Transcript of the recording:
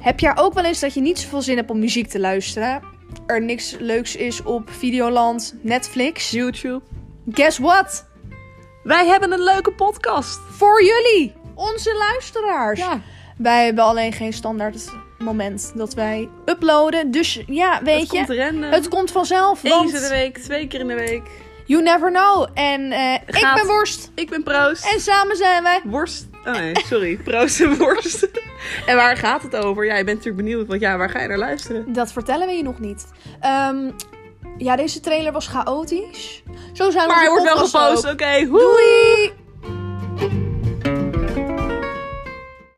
Heb jij ook wel eens dat je niet zoveel zin hebt om muziek te luisteren? Er niks leuks is op Videoland, Netflix? YouTube. Guess what? Wij hebben een leuke podcast. Voor jullie, onze luisteraars. Ja, Wij hebben alleen geen standaard moment dat wij uploaden. Dus ja, weet het je, komt random. het komt vanzelf. Eens in de Want week, twee keer in de week. you never know. En eh, ik Gaat- ben Worst. Ik ben Proost. En samen zijn wij... Worst. Oh nee, sorry. Proost en worst. en waar gaat het over? Ja, je bent natuurlijk benieuwd, want ja, waar ga je naar luisteren? Dat vertellen we je nog niet. Ehm, ja, deze trailer was chaotisch. Zo zijn Maar onze hij wordt wel podcasts gepost, ook. oké. hoe? Doei!